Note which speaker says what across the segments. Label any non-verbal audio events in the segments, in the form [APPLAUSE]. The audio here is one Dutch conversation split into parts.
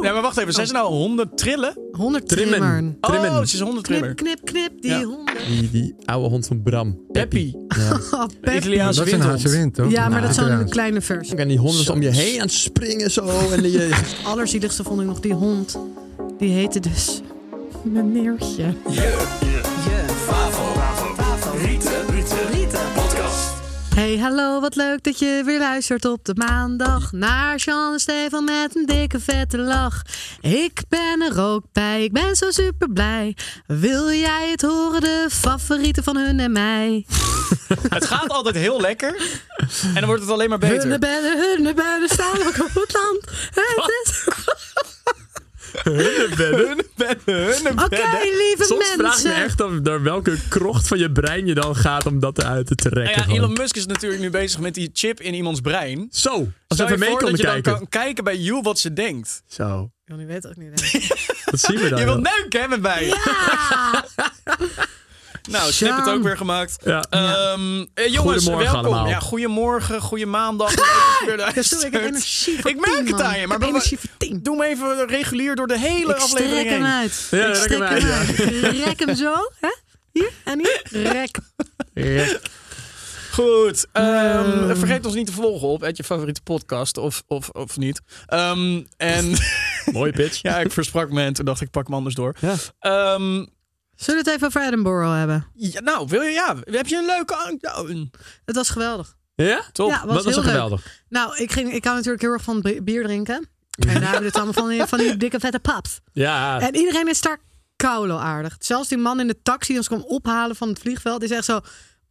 Speaker 1: Nee, maar wacht even. Zijn ze nou 100 trillen?
Speaker 2: 100
Speaker 3: Trimmen.
Speaker 2: trimmen.
Speaker 3: Trimmen.
Speaker 1: Oh, ze is 100
Speaker 2: Knip,
Speaker 1: trillen.
Speaker 2: knip, knip, die
Speaker 1: Ja.
Speaker 2: honden.
Speaker 3: Die, die oude hond van Bram.
Speaker 1: Peppy.
Speaker 3: Ja.
Speaker 2: Oh, Pep.
Speaker 1: Italiaanse
Speaker 4: Dat is een
Speaker 1: windhond.
Speaker 4: haatje wind, toch?
Speaker 2: Ja, maar dat is
Speaker 4: zijn
Speaker 2: zo'n kleine versie.
Speaker 3: En die honden is om je heen aan het springen zo. En die, eh,
Speaker 2: Het allerzieligste vond ik nog die hond. Die heette dus... Meneertje. Hey, hallo, wat leuk dat je weer luistert op de maandag naar Jean en Stefan met een dikke vette lach. Ik ben er ook bij, ik ben zo super blij. Wil jij het horen, de favorieten van hun en mij?
Speaker 1: Het gaat altijd heel lekker. En dan wordt het alleen maar
Speaker 2: Hunne
Speaker 1: beter.
Speaker 2: bellen, hunne bellen staan ook op het land. Het is... Oké,
Speaker 1: Nou
Speaker 2: lieve
Speaker 3: [LAUGHS] Soms
Speaker 2: mensen.
Speaker 3: vraag ik me echt af naar welke krocht van je brein je dan gaat om dat uit te trekken.
Speaker 1: Nou ja,
Speaker 3: gewoon.
Speaker 1: Elon Musk is natuurlijk nu bezig met die chip in iemands brein.
Speaker 3: Zo, als we
Speaker 1: Stel je
Speaker 3: even mee
Speaker 1: voor dat
Speaker 3: komen
Speaker 1: je dan
Speaker 3: kijken.
Speaker 1: kan kijken bij jou wat ze denkt.
Speaker 3: Zo,
Speaker 2: Johnny weet ook niet.
Speaker 3: dat zien we dan.
Speaker 1: Je wilt
Speaker 3: wel.
Speaker 1: neuken, hè, met mij?
Speaker 3: [LAUGHS]
Speaker 2: Ah,
Speaker 1: Nou, snip het
Speaker 2: Sjaan.
Speaker 1: ook weer gemaakt.
Speaker 3: Ja.
Speaker 1: Ehm, eh, jongens,
Speaker 3: Goedemorgen
Speaker 1: welkom.
Speaker 3: allemaal.
Speaker 1: Ja, goedemorgen, goede maandag. Leuk dat je weer
Speaker 2: ja, sorry, ik heb
Speaker 1: luistert.
Speaker 2: energie voor
Speaker 1: Ik merk
Speaker 2: tien,
Speaker 1: het
Speaker 2: man.
Speaker 1: aan je,
Speaker 2: Ik
Speaker 1: maar
Speaker 2: heb
Speaker 1: we-
Speaker 2: energie voor tien.
Speaker 1: Doe hem even regulier door de hele
Speaker 2: Ik
Speaker 1: aflevering
Speaker 2: strek hem
Speaker 1: heen.
Speaker 2: uit.
Speaker 3: Ja,
Speaker 2: ik
Speaker 3: rek
Speaker 2: strek
Speaker 3: hem
Speaker 2: hem
Speaker 3: uit,
Speaker 2: uit.
Speaker 3: ja.
Speaker 2: Rek hem zo. Hè? Hier en hier. Rek.
Speaker 3: Ja.
Speaker 1: Goed. ehm,
Speaker 3: Hmm.
Speaker 1: Vergeet ons niet te volgen op uit je favoriete podcast of, of, of niet. Ehm, en
Speaker 3: [LAUGHS] Mooi pitch.
Speaker 1: ja, ik versprak me en toen dacht ik, pak me anders door. Ehm,
Speaker 2: Zullen we het even over Edinburgh hebben?
Speaker 1: ja, nou, wil je, ja, heb je een leuke... an- nou, een-
Speaker 2: Het was geweldig.
Speaker 3: Ja?
Speaker 1: Top.
Speaker 2: Ja, was heel
Speaker 3: Wat was er
Speaker 2: leuk.
Speaker 3: geweldig?
Speaker 2: Nou, ik, ging, ik hou natuurlijk heel erg van bi- bier drinken. En daar hebben we het allemaal van die, van
Speaker 3: [LAUGHS]
Speaker 2: die dikke vette paps.
Speaker 3: Ja,
Speaker 2: En iedereen is daar koulo aardig. Zelfs die man in de taxi die ons kwam ophalen van het vliegveld is echt zo...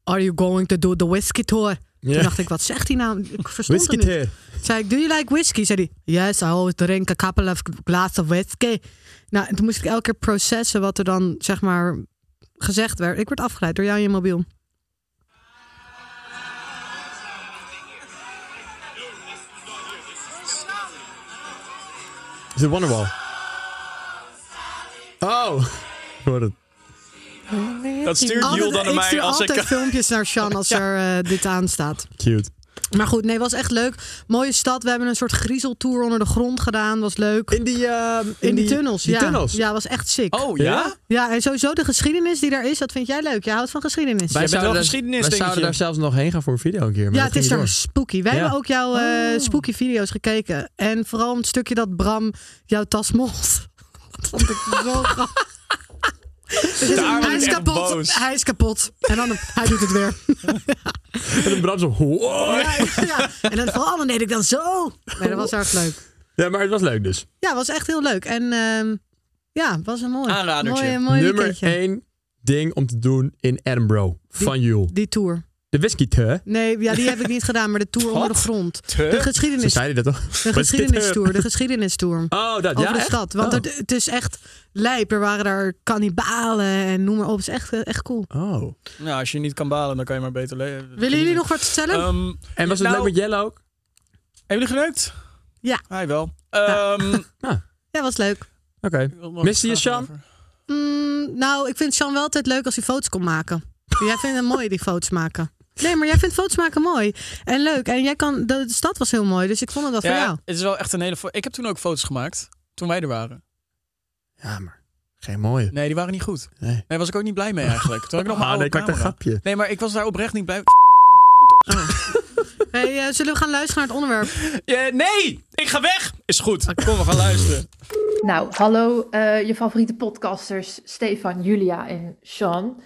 Speaker 2: Are you going to do the whiskey tour?
Speaker 3: Ja.
Speaker 2: Toen dacht ik, wat zegt hij nou? Ik verstond
Speaker 3: whisky
Speaker 2: het niet.
Speaker 3: teer.
Speaker 2: Zei ik, do you like whiskey? Zei hij, yes, I always drink a couple of glass of whiskey. Nou, en toen moest ik elke keer processen wat er dan, zeg maar, gezegd werd. Ik word afgeleid door jou en je mobiel.
Speaker 3: Is het Wonderwall? Oh, ik hoor het.
Speaker 1: Dat stuurt Jules
Speaker 2: Altijd-
Speaker 1: dan aan
Speaker 2: ik
Speaker 1: mij
Speaker 2: stuur
Speaker 1: als
Speaker 2: altijd
Speaker 1: ik...
Speaker 2: filmpjes naar Sean
Speaker 1: [LAUGHS]
Speaker 2: als er eh, dit aanstaat.
Speaker 3: Cute.
Speaker 2: Maar goed, nee, was echt leuk. Mooie stad. We hebben een soort griezeltour onder de grond gedaan. Was leuk.
Speaker 3: In die, ehm,
Speaker 2: In, die, tunnels.
Speaker 3: Die
Speaker 2: ja.
Speaker 3: tunnels.
Speaker 2: Ja, was echt sick.
Speaker 1: Oh, ja?
Speaker 2: Ja, en sowieso de geschiedenis die daar is, dat vind jij leuk. Je houdt van geschiedenis.
Speaker 1: Jij bent wel
Speaker 3: daar-
Speaker 1: geschiedenis,
Speaker 3: Wij
Speaker 1: denk
Speaker 3: zouden
Speaker 1: je.
Speaker 3: daar zelfs nog heen gaan voor een video een keer. maar
Speaker 2: Ja,
Speaker 3: dat
Speaker 2: het is
Speaker 3: ging
Speaker 2: daar
Speaker 3: niet
Speaker 2: spooky. Wij
Speaker 3: Ja.
Speaker 2: hebben ook jouw eh, spooky video's gekeken. En vooral het stukje dat Bram jouw tas molt. [LAUGHS] Dat vond ik zo grappig.
Speaker 1: Daar ben
Speaker 2: Hij
Speaker 1: ik
Speaker 2: is
Speaker 1: echt
Speaker 2: kapot.
Speaker 1: boos.
Speaker 2: Hij is kapot. En dan hij doet het weer.
Speaker 3: door. En dan Bram zo... wow.
Speaker 2: Ja. En dan vooral oh, dan deed ik dan zo. Nee, dat was erg leuk.
Speaker 3: Ja, maar het was leuk dus.
Speaker 2: Ja, was echt heel leuk. En ehm, ja, was een mooi.
Speaker 1: Aanradertje.
Speaker 2: Mooi, mooi
Speaker 3: Nummer
Speaker 2: weekendje.
Speaker 3: één ding om te doen in Edinburgh. Van Jul.
Speaker 2: Die tour.
Speaker 3: De whisky te.
Speaker 2: Nee, ja, die heb
Speaker 3: [LAUGHS]
Speaker 2: ik niet gedaan, maar de tour onder de grond. De
Speaker 3: Zo
Speaker 2: geschiedenis.
Speaker 3: zei hij dat [LAUGHS] toch?
Speaker 2: De
Speaker 3: Wat is dit, hè?
Speaker 2: geschiedenistour. De
Speaker 3: [LAUGHS]
Speaker 2: geschiedenistour.
Speaker 3: Oh, dat ja.
Speaker 2: over de
Speaker 3: echt?
Speaker 2: stad. Want
Speaker 3: oh.
Speaker 2: het, het is echt lijp. Er waren daar kannibalen en noem maar op. Het is echt, eh, echt cool.
Speaker 3: Oh.
Speaker 1: Nou, als je niet kan balen, dan kan je maar beter leven.
Speaker 2: Willen jullie nog wat vertellen?
Speaker 1: Ehm,
Speaker 3: En was het
Speaker 1: nou,
Speaker 3: leuk met Jelle ook?
Speaker 1: Hebben jullie geneukt?
Speaker 2: Ja.
Speaker 1: Hij
Speaker 2: [LAUGHS]
Speaker 1: wel. Ehm,
Speaker 2: ja, was leuk.
Speaker 3: Oké. Miste je Sean?
Speaker 2: Mm, nou, ik vind Sean wel altijd leuk als hij foto's kon maken. Jij vindt het mooi, die foto's maken. Nee, maar jij vindt foto's maken mooi en leuk. En jij kan, de, de stad was heel mooi, dus ik vond het wel voor
Speaker 1: Ja,
Speaker 2: jou.
Speaker 1: het is wel echt een hele... fo- Ik heb toen ook foto's gemaakt, toen wij er waren.
Speaker 3: Ja, maar geen mooie.
Speaker 1: Nee, die waren niet goed.
Speaker 3: Nee.
Speaker 1: Nee, was ik ook niet blij mee eigenlijk. Toen had ik nog
Speaker 3: Ah,
Speaker 1: maar
Speaker 3: nee, ik maakte een grapje.
Speaker 1: Nee, maar ik was daar oprecht niet blij
Speaker 2: eh, zullen we gaan luisteren naar het onderwerp?
Speaker 1: Ja, nee, ik ga weg. Is goed. Ah, Kom, we gaan luisteren.
Speaker 4: Nou, hallo eh, je favoriete podcasters Stefan, Julia en Sean.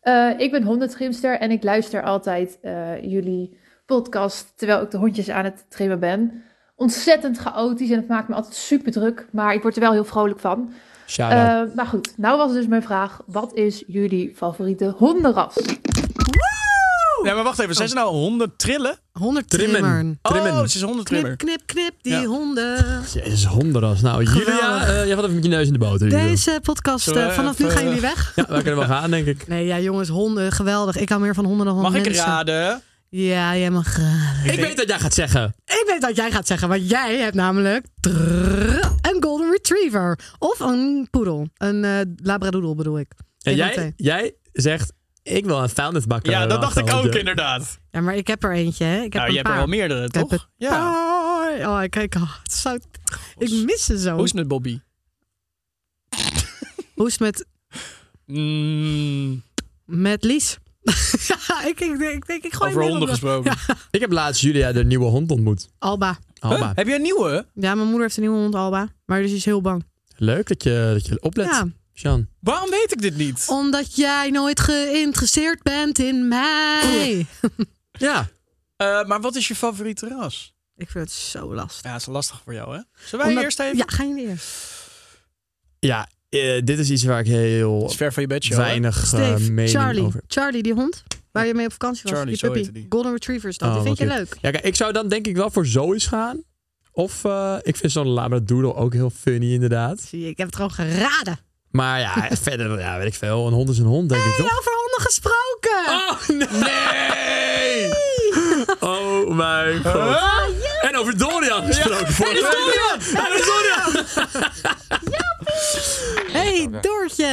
Speaker 4: Eh, ik ben hondentrimster en ik luister altijd eh, jullie podcast terwijl ik de hondjes aan het trimmen ben. Ontzettend chaotisch en het maakt me altijd super druk, maar ik word er wel heel vrolijk van. Eh, maar goed, nou was dus mijn vraag, wat is jullie favoriete hondenras?
Speaker 2: Oh.
Speaker 1: Nee, maar wacht even. Zijn ze nou honden trillen?
Speaker 2: 100
Speaker 3: Trimmen.
Speaker 2: trimmer.
Speaker 1: Oh,
Speaker 3: Trimmen.
Speaker 1: ze is een hondentrimmer.
Speaker 2: Knip, knip, knip, die
Speaker 1: Ja.
Speaker 2: honden.
Speaker 3: Jezus, hondenras. Nou, Julia,
Speaker 2: Geweldig.
Speaker 3: eh, jij gaat even met je neus in de boter. Julia.
Speaker 2: Deze podcast, eh,
Speaker 1: Zullen we
Speaker 2: vanaf nu
Speaker 1: even-
Speaker 2: gaan jullie weg.
Speaker 3: Ja, wij kunnen wel gaan, denk ik.
Speaker 2: Nee, ja, jongens, honden, geweldig. Ik hou meer van honden dan van
Speaker 1: Mag ik
Speaker 2: mensen.
Speaker 1: raden?
Speaker 2: Ja, jij mag raden.
Speaker 3: Ik, weet wat jij gaat zeggen.
Speaker 2: Ik weet wat jij gaat zeggen, want jij hebt namelijk trrr, een golden retriever. Of een poedel. Een eh labradoodle bedoel ik.
Speaker 3: En
Speaker 2: Eén van
Speaker 3: jij,
Speaker 2: twee.
Speaker 3: jij zegt, ik wil een founded bakken.
Speaker 1: Ja, dat dacht ik ook
Speaker 3: in.
Speaker 1: inderdaad.
Speaker 2: Ja, maar ik heb er eentje, hè. Ik heb
Speaker 1: Nou,
Speaker 2: een
Speaker 1: je hebt er
Speaker 2: paar.
Speaker 1: wel meerdere,
Speaker 2: Ik heb
Speaker 1: toch?
Speaker 2: een
Speaker 1: Ja.
Speaker 2: paar. Oh, kijk, oh, het zou... ik mis ze zo.
Speaker 1: Hoe is het met Bobby?
Speaker 2: Hoe is het met,
Speaker 1: Mm,
Speaker 2: met Lies? [LAUGHS] Ja, ik, ik, denk- ik denk, ik gooi
Speaker 1: over
Speaker 2: hem in
Speaker 1: honden
Speaker 2: op de-
Speaker 1: gesproken.
Speaker 3: Ik heb laatst Julia de nieuwe hond ontmoet.
Speaker 2: Alba.
Speaker 3: Alba.
Speaker 1: Huh? [LAUGHS] Heb jij een nieuwe?
Speaker 2: Ja, mijn moeder heeft een nieuwe hond, Alba. Maar dus die is heel bang.
Speaker 3: Leuk dat je, dat je oplet,
Speaker 2: Ja.
Speaker 3: Sjan.
Speaker 1: Waarom weet ik dit niet?
Speaker 2: Omdat jij nooit geïnteresseerd bent in mij.
Speaker 3: Ja.
Speaker 1: Eh, maar wat is je favoriete ras?
Speaker 2: Ik vind het zo lastig.
Speaker 1: Ja, dat is lastig voor jou, hè? Zullen wij
Speaker 2: Omdat-
Speaker 1: eerst even...
Speaker 2: Ja, ga je eerst.
Speaker 3: Ja, eh, dit is iets waar ik heel
Speaker 1: Het is ver van je bed, show, hè?
Speaker 3: weinig eh,
Speaker 2: Steve,
Speaker 3: mening
Speaker 2: Charlie.
Speaker 3: over...
Speaker 2: Charlie, die hond waar je mee op vakantie was.
Speaker 1: Charlie, zo
Speaker 2: die puppy.
Speaker 1: heette die.
Speaker 2: Golden Retriever is dat.
Speaker 3: Oh,
Speaker 2: die vind
Speaker 3: wat
Speaker 2: je
Speaker 3: cute.
Speaker 2: leuk.
Speaker 3: Ja, kijk, ik zou dan denk ik wel voor zoiets gaan. Of eh, ik vind zo'n labradoodle ook heel funny inderdaad.
Speaker 2: Zie je, ik heb het gewoon geraden.
Speaker 3: Maar ja, [LAUGHS] verder ja, weet ik veel. Een hond is een hond, denk ik
Speaker 2: Hey, nou,
Speaker 3: toch?
Speaker 2: over honden gesproken.
Speaker 3: Oh, nee! Oh mijn god. En over Dorian gesproken. voor de Dorian! En Dorian!
Speaker 2: hey, Doortje.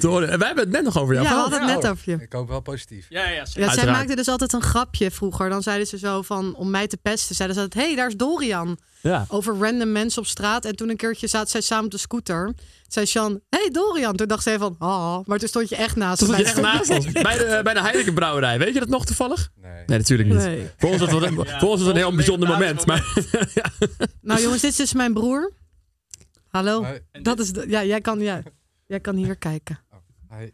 Speaker 3: Dorian. En Wij hebben het net nog over jou.
Speaker 2: Ja, we
Speaker 3: gehad.
Speaker 2: hadden het net over je.
Speaker 5: Ik hoop wel positief.
Speaker 1: Ja, ja, zeker.
Speaker 2: Ja, zij
Speaker 3: Uiteraard.
Speaker 2: maakte dus altijd een grapje vroeger. Dan zeiden ze zo van, om mij te pesten, zeiden ze altijd... Hé, hey, daar is Dorian.
Speaker 3: Ja.
Speaker 2: Over random mensen op straat. En toen een keertje zaten zij samen op de scooter. Toen zei Sjan, hé hey, Dorian. Toen dacht zij van, oh. Maar toen stond je echt naast
Speaker 3: Toen
Speaker 2: mij.
Speaker 3: zat je echt naast ons. Bij de, bij de Heineken Brouwerij. Weet je dat nog toevallig?
Speaker 5: Nee.
Speaker 3: Nee, natuurlijk niet.
Speaker 2: Nee.
Speaker 3: Voor ons was het, voor ons was het een heel bijzonder moment. Maar
Speaker 2: Nou jongens, dit is dus mijn broer. Hallo.
Speaker 5: Hoi.
Speaker 2: Dat is de- ja, jij, kan, ja, jij kan hier
Speaker 3: [LAUGHS]
Speaker 2: kijken.
Speaker 5: Hij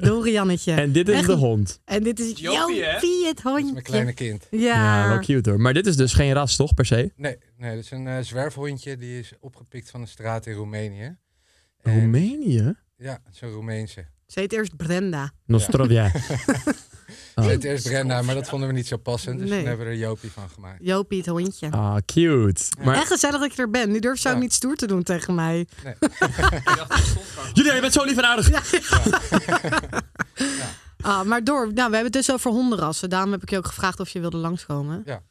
Speaker 2: Doriannetje.
Speaker 3: en dit is
Speaker 2: Echt-
Speaker 3: de hond.
Speaker 2: En dit is
Speaker 1: Jopie, hè?
Speaker 2: Jopie, het
Speaker 5: is
Speaker 2: hondje.
Speaker 5: mijn kleine kind.
Speaker 3: Ja,
Speaker 2: Ja.
Speaker 3: wel cute hoor. Maar dit is dus geen ras, toch, per se?
Speaker 5: Nee, nee dat is een eh, zwerfhondje. Die is opgepikt van de straat in Roemenië. En-
Speaker 3: Roemenië?
Speaker 5: Ja, zo'n Roemeense.
Speaker 2: Ze heet eerst Brenda.
Speaker 3: Nostrovia.
Speaker 5: Ze heet eerst Brenda, maar dat vonden we niet zo passend. Dus
Speaker 2: Nee.
Speaker 5: toen hebben we er Jopie van gemaakt.
Speaker 2: Jopie, het hondje.
Speaker 3: Ah, cute. Maar
Speaker 2: Echt gezellig dat je er bent. Nu durf ze ook niet stoer te doen tegen mij.
Speaker 3: Julia, je bent zo lief en aardig.
Speaker 2: Ah, maar door, nou, we hebben het dus over hondenrassen. Daarom heb ik je ook gevraagd of je wilde langskomen.
Speaker 5: Ja.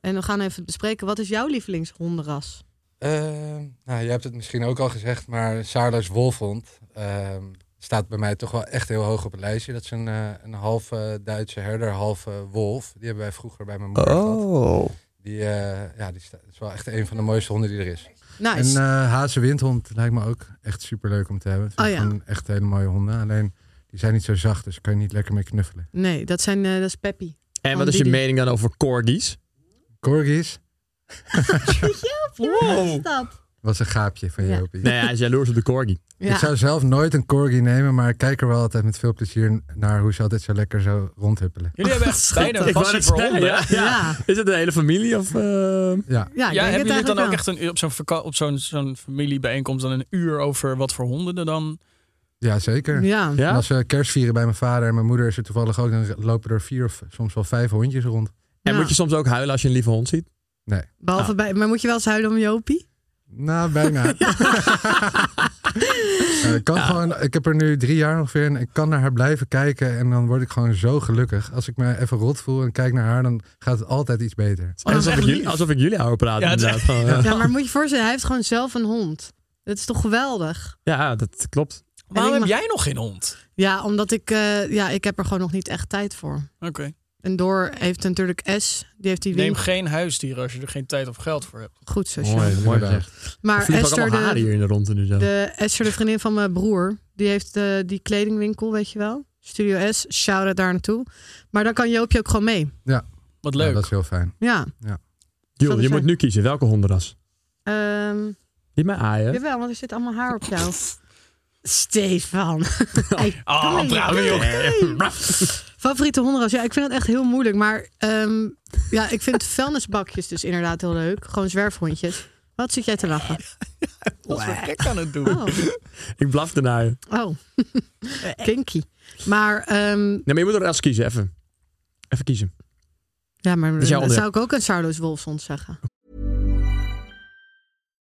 Speaker 2: En we gaan even bespreken, wat is jouw lievelingshondenras?
Speaker 5: Ehm, nou, je hebt het misschien ook al gezegd, maar Saarloos Wolfhond ehm, staat bij mij toch wel echt heel hoog op het lijstje. Dat is een, eh, een halve Duitse herder, halve wolf. Die hebben wij vroeger bij mijn moeder gehad.
Speaker 3: Oh.
Speaker 5: Die, eh, ja, die sta- dat is wel echt een van de mooiste honden die er is. En
Speaker 2: Nice.
Speaker 5: eh hazenwindhond lijkt me ook echt super leuk om te hebben. Het
Speaker 2: Oh
Speaker 5: zijn
Speaker 2: ja.
Speaker 5: gewoon echt hele mooie honden. Alleen die zijn niet zo zacht, dus kan je niet lekker mee knuffelen.
Speaker 2: nee, dat, zijn, eh, dat is Peppy.
Speaker 3: En wat is je
Speaker 2: Didi.
Speaker 3: mening dan over corgis?
Speaker 5: Corgis
Speaker 3: Wow.
Speaker 2: Stap.
Speaker 5: was een gaapje van
Speaker 2: Ja.
Speaker 5: Jopie.
Speaker 3: Nee, hij is jaloers op de corgi.
Speaker 2: Ja.
Speaker 5: Ik zou zelf nooit een corgi nemen, maar ik kijk er wel altijd met veel plezier naar hoe ze altijd zo lekker zo rondhuppelen.
Speaker 1: Jullie
Speaker 2: [LAUGHS]
Speaker 1: hebben echt bijna een
Speaker 3: Ik wou
Speaker 1: passie
Speaker 3: net
Speaker 1: voor
Speaker 3: zeggen,
Speaker 1: honden.
Speaker 3: ja.
Speaker 1: hè?
Speaker 2: Ja.
Speaker 3: Is het de hele familie? Of, eh,
Speaker 5: Ja,
Speaker 2: Ja, ik
Speaker 1: Ja,
Speaker 2: denk
Speaker 1: hebben
Speaker 2: het
Speaker 1: jullie dan
Speaker 2: eigenlijk
Speaker 1: ook
Speaker 2: wel.
Speaker 1: echt een, uur op zo'n vaka- op zo'n zo'n familiebijeenkomst dan een uur over wat voor honden er dan...
Speaker 5: ja zeker.
Speaker 2: Ja.
Speaker 5: En
Speaker 3: ja?
Speaker 5: als we kerst vieren bij mijn vader en mijn moeder is er toevallig ook, dan lopen er vier of soms wel vijf hondjes rond.
Speaker 3: En
Speaker 2: Ja. Oh,
Speaker 3: moet je soms ook huilen als je een lieve hond ziet?
Speaker 5: Nee,
Speaker 2: Behalve bij, maar moet je wel eens huilen om Jopie?
Speaker 5: nou bijna. Eh, ik kan gewoon, ik heb er nu drie jaar ongeveer en ik kan naar haar blijven kijken en dan word ik gewoon zo gelukkig. Als ik me even rot voel en kijk naar haar, dan gaat het altijd iets beter.
Speaker 1: dat is
Speaker 3: alsof,
Speaker 1: echt
Speaker 3: ik jullie,
Speaker 1: lief.
Speaker 3: alsof ik jullie ouder praat.
Speaker 1: Ja,
Speaker 3: Ja,
Speaker 1: het is
Speaker 3: inderdaad. Van, eh,
Speaker 2: Ja, maar moet je je voorstellen, hij heeft gewoon zelf een hond. Dat is toch geweldig?
Speaker 3: ja, dat klopt.
Speaker 1: Waarom
Speaker 2: ik
Speaker 1: heb
Speaker 2: mag-
Speaker 1: jij nog geen hond?
Speaker 2: Ja, omdat ik, eh, ja, ik heb er gewoon nog niet echt tijd voor.
Speaker 1: Oké.
Speaker 2: En Door heeft natuurlijk S, die heeft die
Speaker 1: Neem
Speaker 2: wing.
Speaker 1: geen huisdier als je er geen tijd of geld voor hebt.
Speaker 2: Goed zo, Sjan.
Speaker 3: Mooi, mooi
Speaker 5: inderdaad.
Speaker 3: gezegd. Er
Speaker 2: Maar
Speaker 3: vliegen ook
Speaker 2: Esther,
Speaker 3: allemaal haren
Speaker 2: de,
Speaker 3: hier in de ronde nu zo.
Speaker 2: De Esther, de vriendin van mijn broer, die heeft eh, die kledingwinkel, weet je wel. Studio S, shout out daar naartoe. Maar dan kan Joopje ook gewoon mee.
Speaker 5: Ja.
Speaker 1: Wat
Speaker 5: Ja,
Speaker 1: leuk.
Speaker 5: dat is heel fijn.
Speaker 2: Ja. Zal
Speaker 3: Joh,
Speaker 2: het
Speaker 3: je moet
Speaker 2: zijn?
Speaker 3: nu kiezen. Welke hondenras?
Speaker 2: Ehm
Speaker 3: Niet mij aaien.
Speaker 2: Jawel, want er zit allemaal haar op
Speaker 1: [LAUGHS]
Speaker 2: jou. Stefan. [LAUGHS] Hey,
Speaker 3: Oh,
Speaker 2: kom
Speaker 1: Ah,
Speaker 2: hier.
Speaker 1: bravo, joh.
Speaker 3: [LAUGHS]
Speaker 2: Favoriete hondenras? Ja, ik vind het echt heel moeilijk. Maar ehm, ja, ik
Speaker 1: [LAUGHS]
Speaker 2: vind vuilnisbakjes dus inderdaad heel leuk. Gewoon zwerfhondjes. Wat zit jij te lachen?
Speaker 1: Wat voor gek aan het doen.
Speaker 2: Oh,
Speaker 3: Ik blaf de naaien.
Speaker 2: oh. [LAUGHS] kinky. Maar, ehm,
Speaker 3: Nee, maar je moet er ras kiezen, even. Even kiezen.
Speaker 2: ja, maar
Speaker 3: is jouw
Speaker 2: dan
Speaker 3: onderdeel.
Speaker 2: zou ik ook een Sarloos Wolfshond zeggen.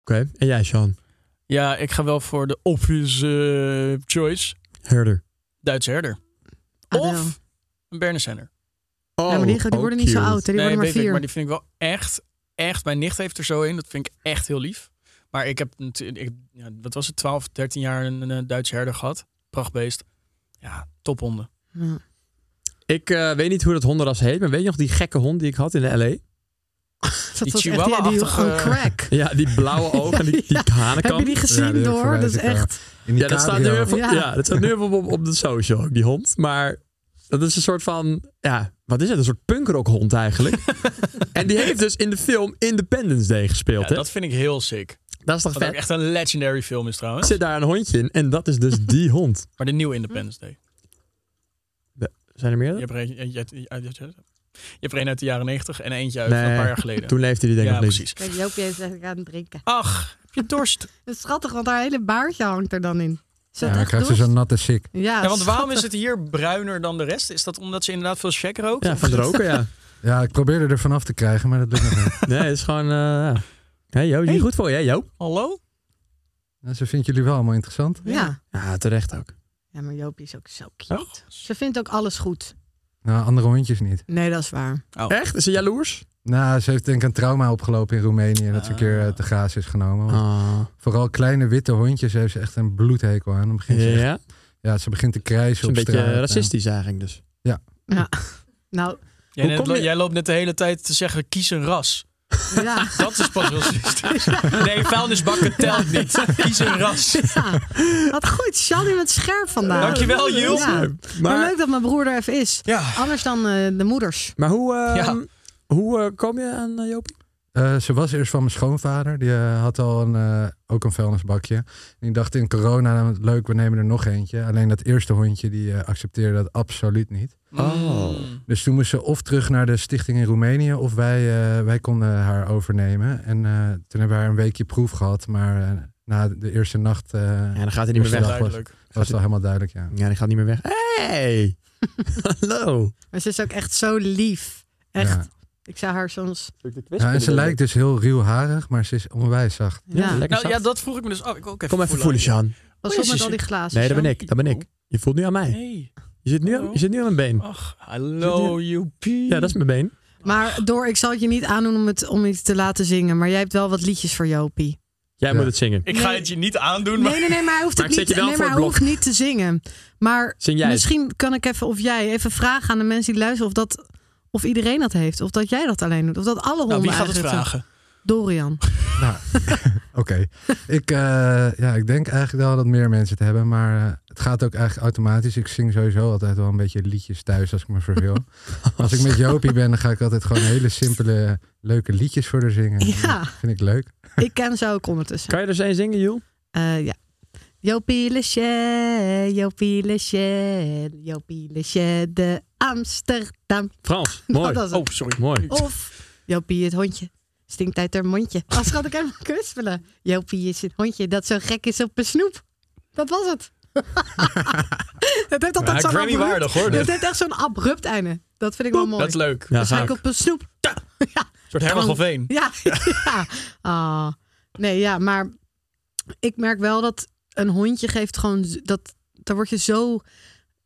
Speaker 3: Oké, en jij, Sean?
Speaker 1: Ja, ik ga wel voor de obvious eh, choice.
Speaker 3: Herder.
Speaker 1: Duitse herder.
Speaker 2: Adele.
Speaker 1: Of een Bernesenner.
Speaker 3: Oh,
Speaker 2: ja, maar die, die
Speaker 3: oh,
Speaker 2: worden niet zo
Speaker 3: cute.
Speaker 2: oud, hè? die worden maar
Speaker 1: weet ik,
Speaker 2: vier.
Speaker 1: maar die vind ik wel echt, echt. Mijn nicht heeft er zo in. Dat vind ik echt heel lief. Maar ik heb natuurlijk, ik- ja, wat was het, 12, 13 jaar een, een Duitse herder gehad. Prachtbeest. Ja, tophonden.
Speaker 2: Ja.
Speaker 3: Ik eh, weet niet hoe dat hondenras heet, maar weet je nog die gekke hond die ik had in de L.A.?
Speaker 2: Dat was echt die, die
Speaker 1: Chihuahua-achtige-
Speaker 2: on crack.
Speaker 3: Ja, die [LAUGHS] blauwe ogen en die, die
Speaker 2: Heb
Speaker 3: hanenkam.
Speaker 2: je die
Speaker 5: Ja,
Speaker 2: gezien,
Speaker 5: die heb ik
Speaker 2: door? Dat is
Speaker 5: voorbij zitten.
Speaker 2: echt...
Speaker 5: In die
Speaker 3: Ja, dat staat nu
Speaker 5: cabrio.
Speaker 3: even, ja.
Speaker 2: Ja.
Speaker 3: dat staat nu even op, op, op de social ook, die hond. Maar dat is een soort van, ja, wat is het? Een soort punkrockhond [LAUGHS] eigenlijk. en die heeft dus in de film Independence Day gespeeld,
Speaker 1: Ja,
Speaker 3: hè?
Speaker 1: dat vind ik heel sick.
Speaker 3: Dat is toch
Speaker 1: Wat ook
Speaker 3: vet?
Speaker 1: echt een legendary film is
Speaker 3: Er
Speaker 1: trouwens.
Speaker 3: zit daar een hondje in en dat is dus [LAUGHS] die hond.
Speaker 1: Maar de nieuwe Independence Day.
Speaker 3: Zijn er
Speaker 1: Je
Speaker 3: meer?
Speaker 1: hebt er, een, je, hebt- je hebt- je hebt er een uit de jaren 90 en eentje uit
Speaker 3: Nee,
Speaker 1: een paar jaar geleden.
Speaker 3: [LAUGHS] Toen leefde die denk ik
Speaker 1: ja,
Speaker 3: nog niet.
Speaker 1: precies.
Speaker 2: Kijk, Joopje is eigenlijk aan het drinken.
Speaker 1: Ach, heb je
Speaker 3: [LAUGHS]
Speaker 1: dorst?
Speaker 2: Dat is schattig, want haar hele baardje hangt er dan in. Is dat
Speaker 5: Ja, dan
Speaker 2: echt
Speaker 5: krijgt ze
Speaker 2: doos?
Speaker 5: zo'n natte sik.
Speaker 2: Ja,
Speaker 1: Ja, want waarom
Speaker 2: schattig.
Speaker 1: is het hier bruiner dan de rest? Is dat omdat ze inderdaad veel shack rookt?
Speaker 3: Ja,
Speaker 1: Of
Speaker 3: van het
Speaker 1: is het-
Speaker 3: roken,
Speaker 1: [LAUGHS]
Speaker 3: ja.
Speaker 5: Ja, ik probeerde er vanaf te krijgen, maar dat lukt
Speaker 3: [LAUGHS]
Speaker 5: nog niet.
Speaker 3: Nee, het is gewoon... eh, ja. hey, Jo, is niet
Speaker 1: Hey.
Speaker 3: goed voor je, hè, Jo?
Speaker 1: Hallo?
Speaker 5: Nou, Ze vindt jullie wel allemaal interessant.
Speaker 2: Ja.
Speaker 3: Ja, terecht ook.
Speaker 2: ja, maar Joopje is ook zo cute. Ze vindt ook alles goed.
Speaker 5: Nou, andere hondjes niet.
Speaker 2: Nee, dat is waar.
Speaker 3: Echt? Is ze jaloers?
Speaker 5: Nou, ze heeft denk ik een trauma opgelopen in Roemenië dat ze een keer eh, te graas is genomen. Want
Speaker 3: Ah.
Speaker 5: Vooral kleine witte hondjes heeft ze echt een bloedhekel aan. Dan begint ze, echt-
Speaker 3: Ja,
Speaker 5: ja, ze begint te
Speaker 3: is
Speaker 5: krijsen
Speaker 3: een
Speaker 5: op
Speaker 3: beetje eh,
Speaker 5: straat. en-
Speaker 3: racistisch eigenlijk dus.
Speaker 2: Nou,
Speaker 1: Jij,
Speaker 3: Hoe
Speaker 1: net-
Speaker 3: kom je-
Speaker 1: jij loopt net de hele tijd te zeggen, kies een ras.
Speaker 2: [LAUGHS] ja.
Speaker 1: Dat is pas racistisch. [LAUGHS] Nee, vuilnisbakken telt niet. Kies een ras.
Speaker 2: ja. Wat goed. Shandy met scherp vandaag.
Speaker 1: Dankjewel, Jules.
Speaker 2: Ja.
Speaker 1: Nou,
Speaker 2: Maar...
Speaker 3: Maar-
Speaker 2: leuk dat mijn broer er even is.
Speaker 1: Ja.
Speaker 2: Anders dan eh, de moeders.
Speaker 3: Maar hoe, eh,
Speaker 1: Ja.
Speaker 3: hoe eh, kom je aan eh, Joopie?
Speaker 5: Eh, ze was eerst van mijn schoonvader. Die eh, had al een, eh, ook een vuilnisbakje. En die dacht in corona, nou, leuk, we nemen er nog eentje. Alleen dat eerste hondje, die eh, accepteerde dat absoluut niet.
Speaker 3: Oh.
Speaker 1: Hmm.
Speaker 5: Dus toen moest ze of terug naar de stichting in Roemenië... of wij, eh, wij konden haar overnemen. En eh, toen hebben we haar een weekje proef gehad. Maar eh, na de eerste nacht eh,
Speaker 3: Ja, dan gaat hij niet meer
Speaker 5: Eerste
Speaker 3: weg.
Speaker 5: dag.
Speaker 1: Duidelijk.
Speaker 5: was het al helemaal duidelijk, ja.
Speaker 3: Ja, die gaat niet meer weg. Hey! Hallo!
Speaker 2: Maar ze is ook echt zo lief. Echt.
Speaker 5: Ja.
Speaker 2: Ik zou haar soms...
Speaker 5: Ja, en ze lijkt dus heel ruwharig, maar ze is onwijs zacht.
Speaker 2: Ja.
Speaker 3: lekker
Speaker 1: Nou
Speaker 3: zacht.
Speaker 1: ja, dat vroeg ik me dus af. Ik wil ook even
Speaker 3: Kom even voelen, Sjaan.
Speaker 2: Pas op
Speaker 1: Jezus,
Speaker 2: met al die glazen.
Speaker 3: Nee, dat ben
Speaker 2: zo.
Speaker 3: ik. Dat ben ik. Je voelt nu aan mij.
Speaker 1: Nee. Oh.
Speaker 3: Je zit nu,
Speaker 1: Hallo.
Speaker 3: je zit nu aan mijn been.
Speaker 1: Ach, hallo, Joepie.
Speaker 3: Ja, dat is mijn been.
Speaker 2: Maar door, ik zal het je niet aandoen om het, om het te laten zingen. Maar jij hebt wel wat liedjes voor Jopie.
Speaker 3: Jij
Speaker 5: Ja.
Speaker 3: moet het zingen.
Speaker 1: Ik ga het je niet aandoen, maar...
Speaker 2: Nee, nee, nee, maar hij hoeft,
Speaker 3: Maar
Speaker 2: het
Speaker 3: ik
Speaker 2: niet,
Speaker 3: zet je wel
Speaker 2: nee,
Speaker 3: voor
Speaker 2: maar hij
Speaker 3: het blok.
Speaker 2: hoeft niet te zingen. Maar
Speaker 3: Zing jij het?
Speaker 2: misschien kan ik even, of jij, even vragen aan de mensen die luisteren of dat... Of iedereen dat heeft, of dat jij dat alleen doet, of dat alle honden
Speaker 1: Nou, wie gaat het
Speaker 2: eigenlijk dat
Speaker 1: vragen?
Speaker 2: doen. [LAUGHS] Dorian.
Speaker 5: Nou, oké. Ik, eh, ja, ik denk eigenlijk wel dat meer mensen het hebben, maar eh, het gaat ook eigenlijk automatisch. Ik zing sowieso altijd wel een beetje liedjes thuis als ik me
Speaker 2: [LAUGHS]
Speaker 5: verveel. als ik met Jopie ben, dan ga ik altijd gewoon hele simpele, leuke liedjes voor haar zingen.
Speaker 2: Ja.
Speaker 5: Dat vind ik leuk.
Speaker 2: Ik ken ze ook ondertussen.
Speaker 3: Kan je er zijn zingen, Joel?
Speaker 2: Eh, ja. Jopie Leché, Jopie Leché, Jopie Leché de Amsterdam.
Speaker 3: Frans, mooi.
Speaker 2: [LAUGHS] Dat was het.
Speaker 1: Oh, sorry.
Speaker 3: Mooi.
Speaker 2: Of Jopie het hondje. Stinkt uit haar [LAUGHS] mondje. Als schat ik helemaal kwispelen. Jopie is een hondje dat zo gek is op een snoep. Dat was het. [LAUGHS] het heeft
Speaker 1: Ja,
Speaker 2: altijd zo'n
Speaker 1: Grammy
Speaker 2: abrupt...
Speaker 1: waardig, hoor, dit.
Speaker 2: Het heeft echt zo'n abrupt einde. Dat vind ik wel mooi.
Speaker 1: Dat is leuk.
Speaker 3: Ja,
Speaker 2: Dus hij
Speaker 3: gaaf.
Speaker 2: op een snoep. [LAUGHS] Ja.
Speaker 1: Een soort Herman van Veen.
Speaker 2: Ja.
Speaker 1: [LAUGHS]
Speaker 2: [LAUGHS] ja. Ah. Nee, ja, maar ik merk wel dat een hondje geeft gewoon... z- Dat, daar word je zo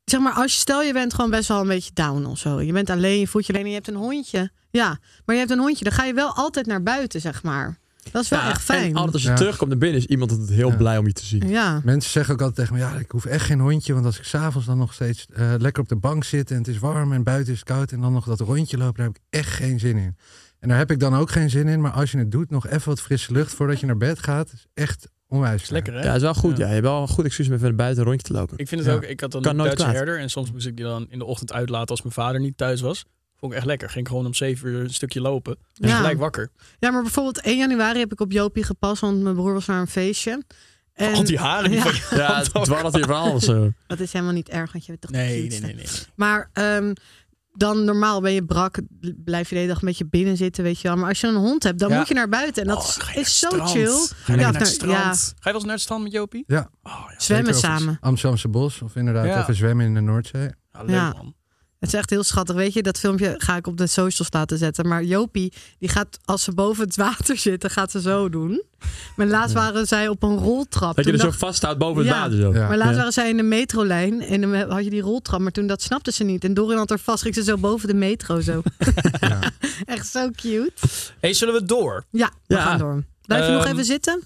Speaker 2: zeg maar, als je stel je bent gewoon best wel een beetje down of zo. Je bent alleen, je voelt je alleen en je hebt een hondje. Ja, maar je hebt een hondje, dan ga je wel altijd naar buiten, zeg maar. Dat is wel
Speaker 3: Ja,
Speaker 2: echt fijn.
Speaker 3: En altijd als je
Speaker 5: Ja.
Speaker 3: terugkomt naar binnen is iemand altijd heel blij om je te zien.
Speaker 2: Ja.
Speaker 5: Mensen zeggen ook altijd tegen me, ja, ik hoef echt geen hondje. Want als ik s'avonds dan nog steeds eh, lekker op de bank zit en het is warm en buiten is het koud en dan nog dat rondje lopen, daar heb ik echt geen zin in. En daar heb ik dan ook geen zin in. Maar als je het doet, nog even wat frisse lucht voordat je naar bed gaat, is echt onwijs.
Speaker 1: is lekker, hè?
Speaker 3: Ja, is wel goed.
Speaker 1: Ja.
Speaker 3: Ja. je hebt wel een goed excuus om even naar buiten een rondje te lopen.
Speaker 1: Ik vind het
Speaker 5: Ja.
Speaker 1: ook, ik had dan
Speaker 3: Kan
Speaker 1: een
Speaker 3: nooit
Speaker 1: Duitse
Speaker 3: kwaad.
Speaker 1: herder en soms moest ik die dan in de ochtend uitlaten als mijn vader niet thuis was. Vond ik echt lekker. Ging ik gewoon om 7 uur een stukje lopen. En
Speaker 2: Ja.
Speaker 1: gelijk wakker.
Speaker 2: ja, maar bijvoorbeeld 1 januari heb ik op Jopie gepast, want mijn broer was naar een feestje. En
Speaker 1: Al die haren die
Speaker 2: Ja.
Speaker 1: van je [LAUGHS]
Speaker 3: Ja,
Speaker 1: hand
Speaker 3: het
Speaker 1: ook.
Speaker 3: dwarrelt hier wel alles. eh.
Speaker 2: dat is helemaal niet erg, want je bent toch de
Speaker 1: Nee, nee,
Speaker 2: cuteste.
Speaker 1: nee, nee.
Speaker 2: Maar ehm, dan normaal ben je brak, blijf je de hele dag een beetje binnen zitten, weet je wel. Maar als je een hond hebt, dan
Speaker 1: Ja.
Speaker 2: moet je naar buiten. En dat
Speaker 1: Oh,
Speaker 2: is-
Speaker 1: ga je
Speaker 2: is zo
Speaker 1: naar het
Speaker 2: chill.
Speaker 1: strand? Ga je lekker
Speaker 2: of
Speaker 1: naar het strand?
Speaker 2: ja,
Speaker 1: Ga je wel eens naar het strand met Jopie?
Speaker 5: Ja,
Speaker 1: Oh ja,
Speaker 2: zwemmen
Speaker 5: zeker over
Speaker 2: samen.
Speaker 5: het Amsterdamse bos of inderdaad
Speaker 1: Ja.
Speaker 5: even zwemmen in de Noordzee.
Speaker 1: Ja, leuk
Speaker 2: Ja.
Speaker 1: man.
Speaker 2: Het is echt heel schattig. Weet je, dat filmpje ga ik op de socials laten zetten. Maar Jopie, die gaat als ze boven het water zitten, gaat ze zo doen. Maar laatst waren zij op een roltrap.
Speaker 3: Dat je
Speaker 2: Toen
Speaker 3: er zo
Speaker 2: dacht-
Speaker 3: vasthoudt boven het
Speaker 2: Ja.
Speaker 3: water. Zo.
Speaker 5: Ja.
Speaker 2: Maar laatst
Speaker 3: Ja.
Speaker 2: waren zij in de metrolijn en dan had je die roltrap. Maar toen dat snapte ze niet. En Dorian had er vast, ging ze zo boven de metro
Speaker 1: [LAUGHS]
Speaker 2: zo.
Speaker 5: Ja.
Speaker 2: [LAUGHS] Echt zo cute.
Speaker 1: hey, zullen we door?
Speaker 2: Ja, we
Speaker 3: Ja.
Speaker 2: gaan door. Blijf je nog
Speaker 1: Ehm,
Speaker 2: even zitten?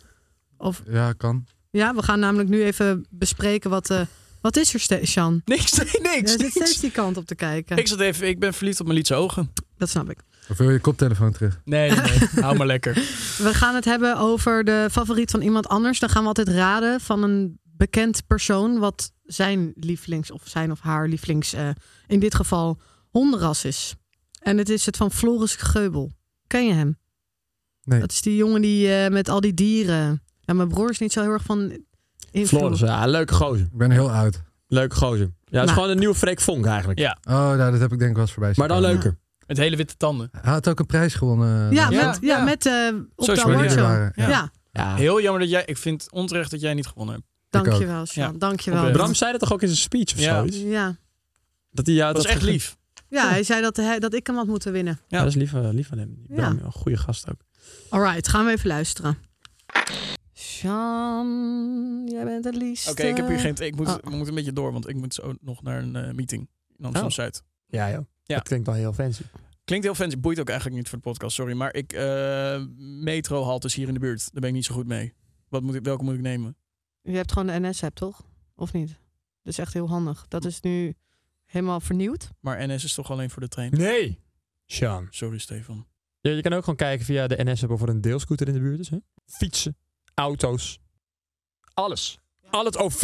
Speaker 2: Of
Speaker 5: ja, kan.
Speaker 2: ja, we gaan namelijk nu even bespreken wat. eh, wat is er, Ste- Sjan?
Speaker 1: Niks, [LAUGHS] nee,
Speaker 2: Je
Speaker 1: niks,
Speaker 2: zit steeds
Speaker 1: niks.
Speaker 2: die kant op te kijken.
Speaker 1: Ik zat even, ik ben verliefd op mijn lietse ogen.
Speaker 2: Dat snap ik.
Speaker 5: Of wil je je koptelefoon terug?
Speaker 1: Nee, nee, nee. [LAUGHS] hou maar lekker.
Speaker 2: We gaan het hebben over de favoriet van iemand anders. Dan gaan we altijd raden van een bekend persoon wat zijn lievelings of zijn of haar lievelings eh, in dit geval hondenras is. En het is het van Floris Geubel. Ken je hem?
Speaker 5: Nee.
Speaker 2: Dat is die jongen die eh, met al die dieren. Ja, mijn broer is niet zo heel erg van invloed.
Speaker 3: Floris, ja, leuke gozer.
Speaker 5: Ik ben heel oud.
Speaker 3: Leuke gozer. Ja, het is
Speaker 2: Maar-
Speaker 3: gewoon een nieuwe Freek Vonk eigenlijk.
Speaker 1: Ja.
Speaker 5: Oh, nou, dat heb ik denk ik wel eens voorbij zien
Speaker 3: Maar dan
Speaker 5: komen.
Speaker 3: leuker.
Speaker 1: Met hele witte tanden.
Speaker 5: Hij had ook een prijs gewonnen.
Speaker 2: Ja,
Speaker 1: Ja,
Speaker 2: met, ja,
Speaker 1: ja.
Speaker 2: met eh, op de
Speaker 1: Social media
Speaker 2: award show.
Speaker 5: waren,
Speaker 2: Ja,
Speaker 5: ja.
Speaker 3: Ja.
Speaker 1: Heel jammer dat jij, ik vind het onterecht dat jij niet gewonnen hebt.
Speaker 2: dankjewel, Sjan.
Speaker 1: Ja.
Speaker 2: Dankjewel.
Speaker 1: Oprecht.
Speaker 3: Bram zei dat toch ook in zijn speech of
Speaker 1: Ja.
Speaker 3: zoiets?
Speaker 2: Ja.
Speaker 3: Dat hij, ja,
Speaker 1: Dat is echt lief.
Speaker 2: ja, hij zei dat, hij, dat ik hem had moeten winnen.
Speaker 3: Ja, dat is lief, eh, lief van hem.
Speaker 2: Ja.
Speaker 3: Bram, een goede gast ook.
Speaker 2: Alright, gaan we even luisteren. Sjan, jij bent het liefste.
Speaker 1: Oké, ik heb hier geen. Ik moet,
Speaker 2: Oh.
Speaker 1: we moeten een beetje door, want ik moet zo nog naar een eh, meeting in Amsterdam Zuid.
Speaker 3: Ja, joh.
Speaker 1: Ja.
Speaker 3: Dat klinkt wel heel fancy.
Speaker 1: Klinkt heel fancy, boeit ook eigenlijk niet voor de podcast, sorry. Maar ik. eh metrohaltes hier in de buurt, daar ben ik niet zo goed mee. Wat moet ik, welke moet ik nemen?
Speaker 2: Je hebt gewoon de NS-app, toch? Of niet? Dat is echt heel handig. Dat is nu helemaal vernieuwd.
Speaker 1: Maar NS is toch alleen voor de trein?
Speaker 3: Nee! Sean.
Speaker 1: Sorry, Stefan.
Speaker 3: Ja, je kan ook gewoon kijken via de NS app of er een deelscooter in de buurt is. Hè? Fietsen, auto's, alles. Al het OV.